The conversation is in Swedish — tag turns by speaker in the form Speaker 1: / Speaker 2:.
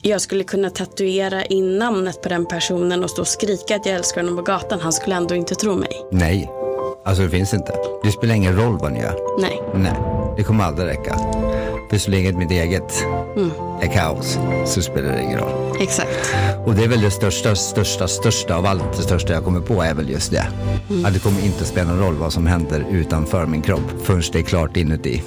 Speaker 1: Jag skulle kunna tatuera in namnet på den personen och stå och skrika att jag älskar honom på gatan. Han skulle ändå inte tro mig.
Speaker 2: Nej, alltså det finns inte. Det spelar ingen roll vad ni gör.
Speaker 1: Nej.
Speaker 2: Nej, det kommer aldrig räcka. För så länge mitt eget är kaos så spelar det ingen roll.
Speaker 1: Exakt.
Speaker 2: Och det är väl det största, största, största av allt det största jag kommer på är väl just det. Att det kommer inte spela någon roll vad som händer utanför min kropp förrän det är klart inuti.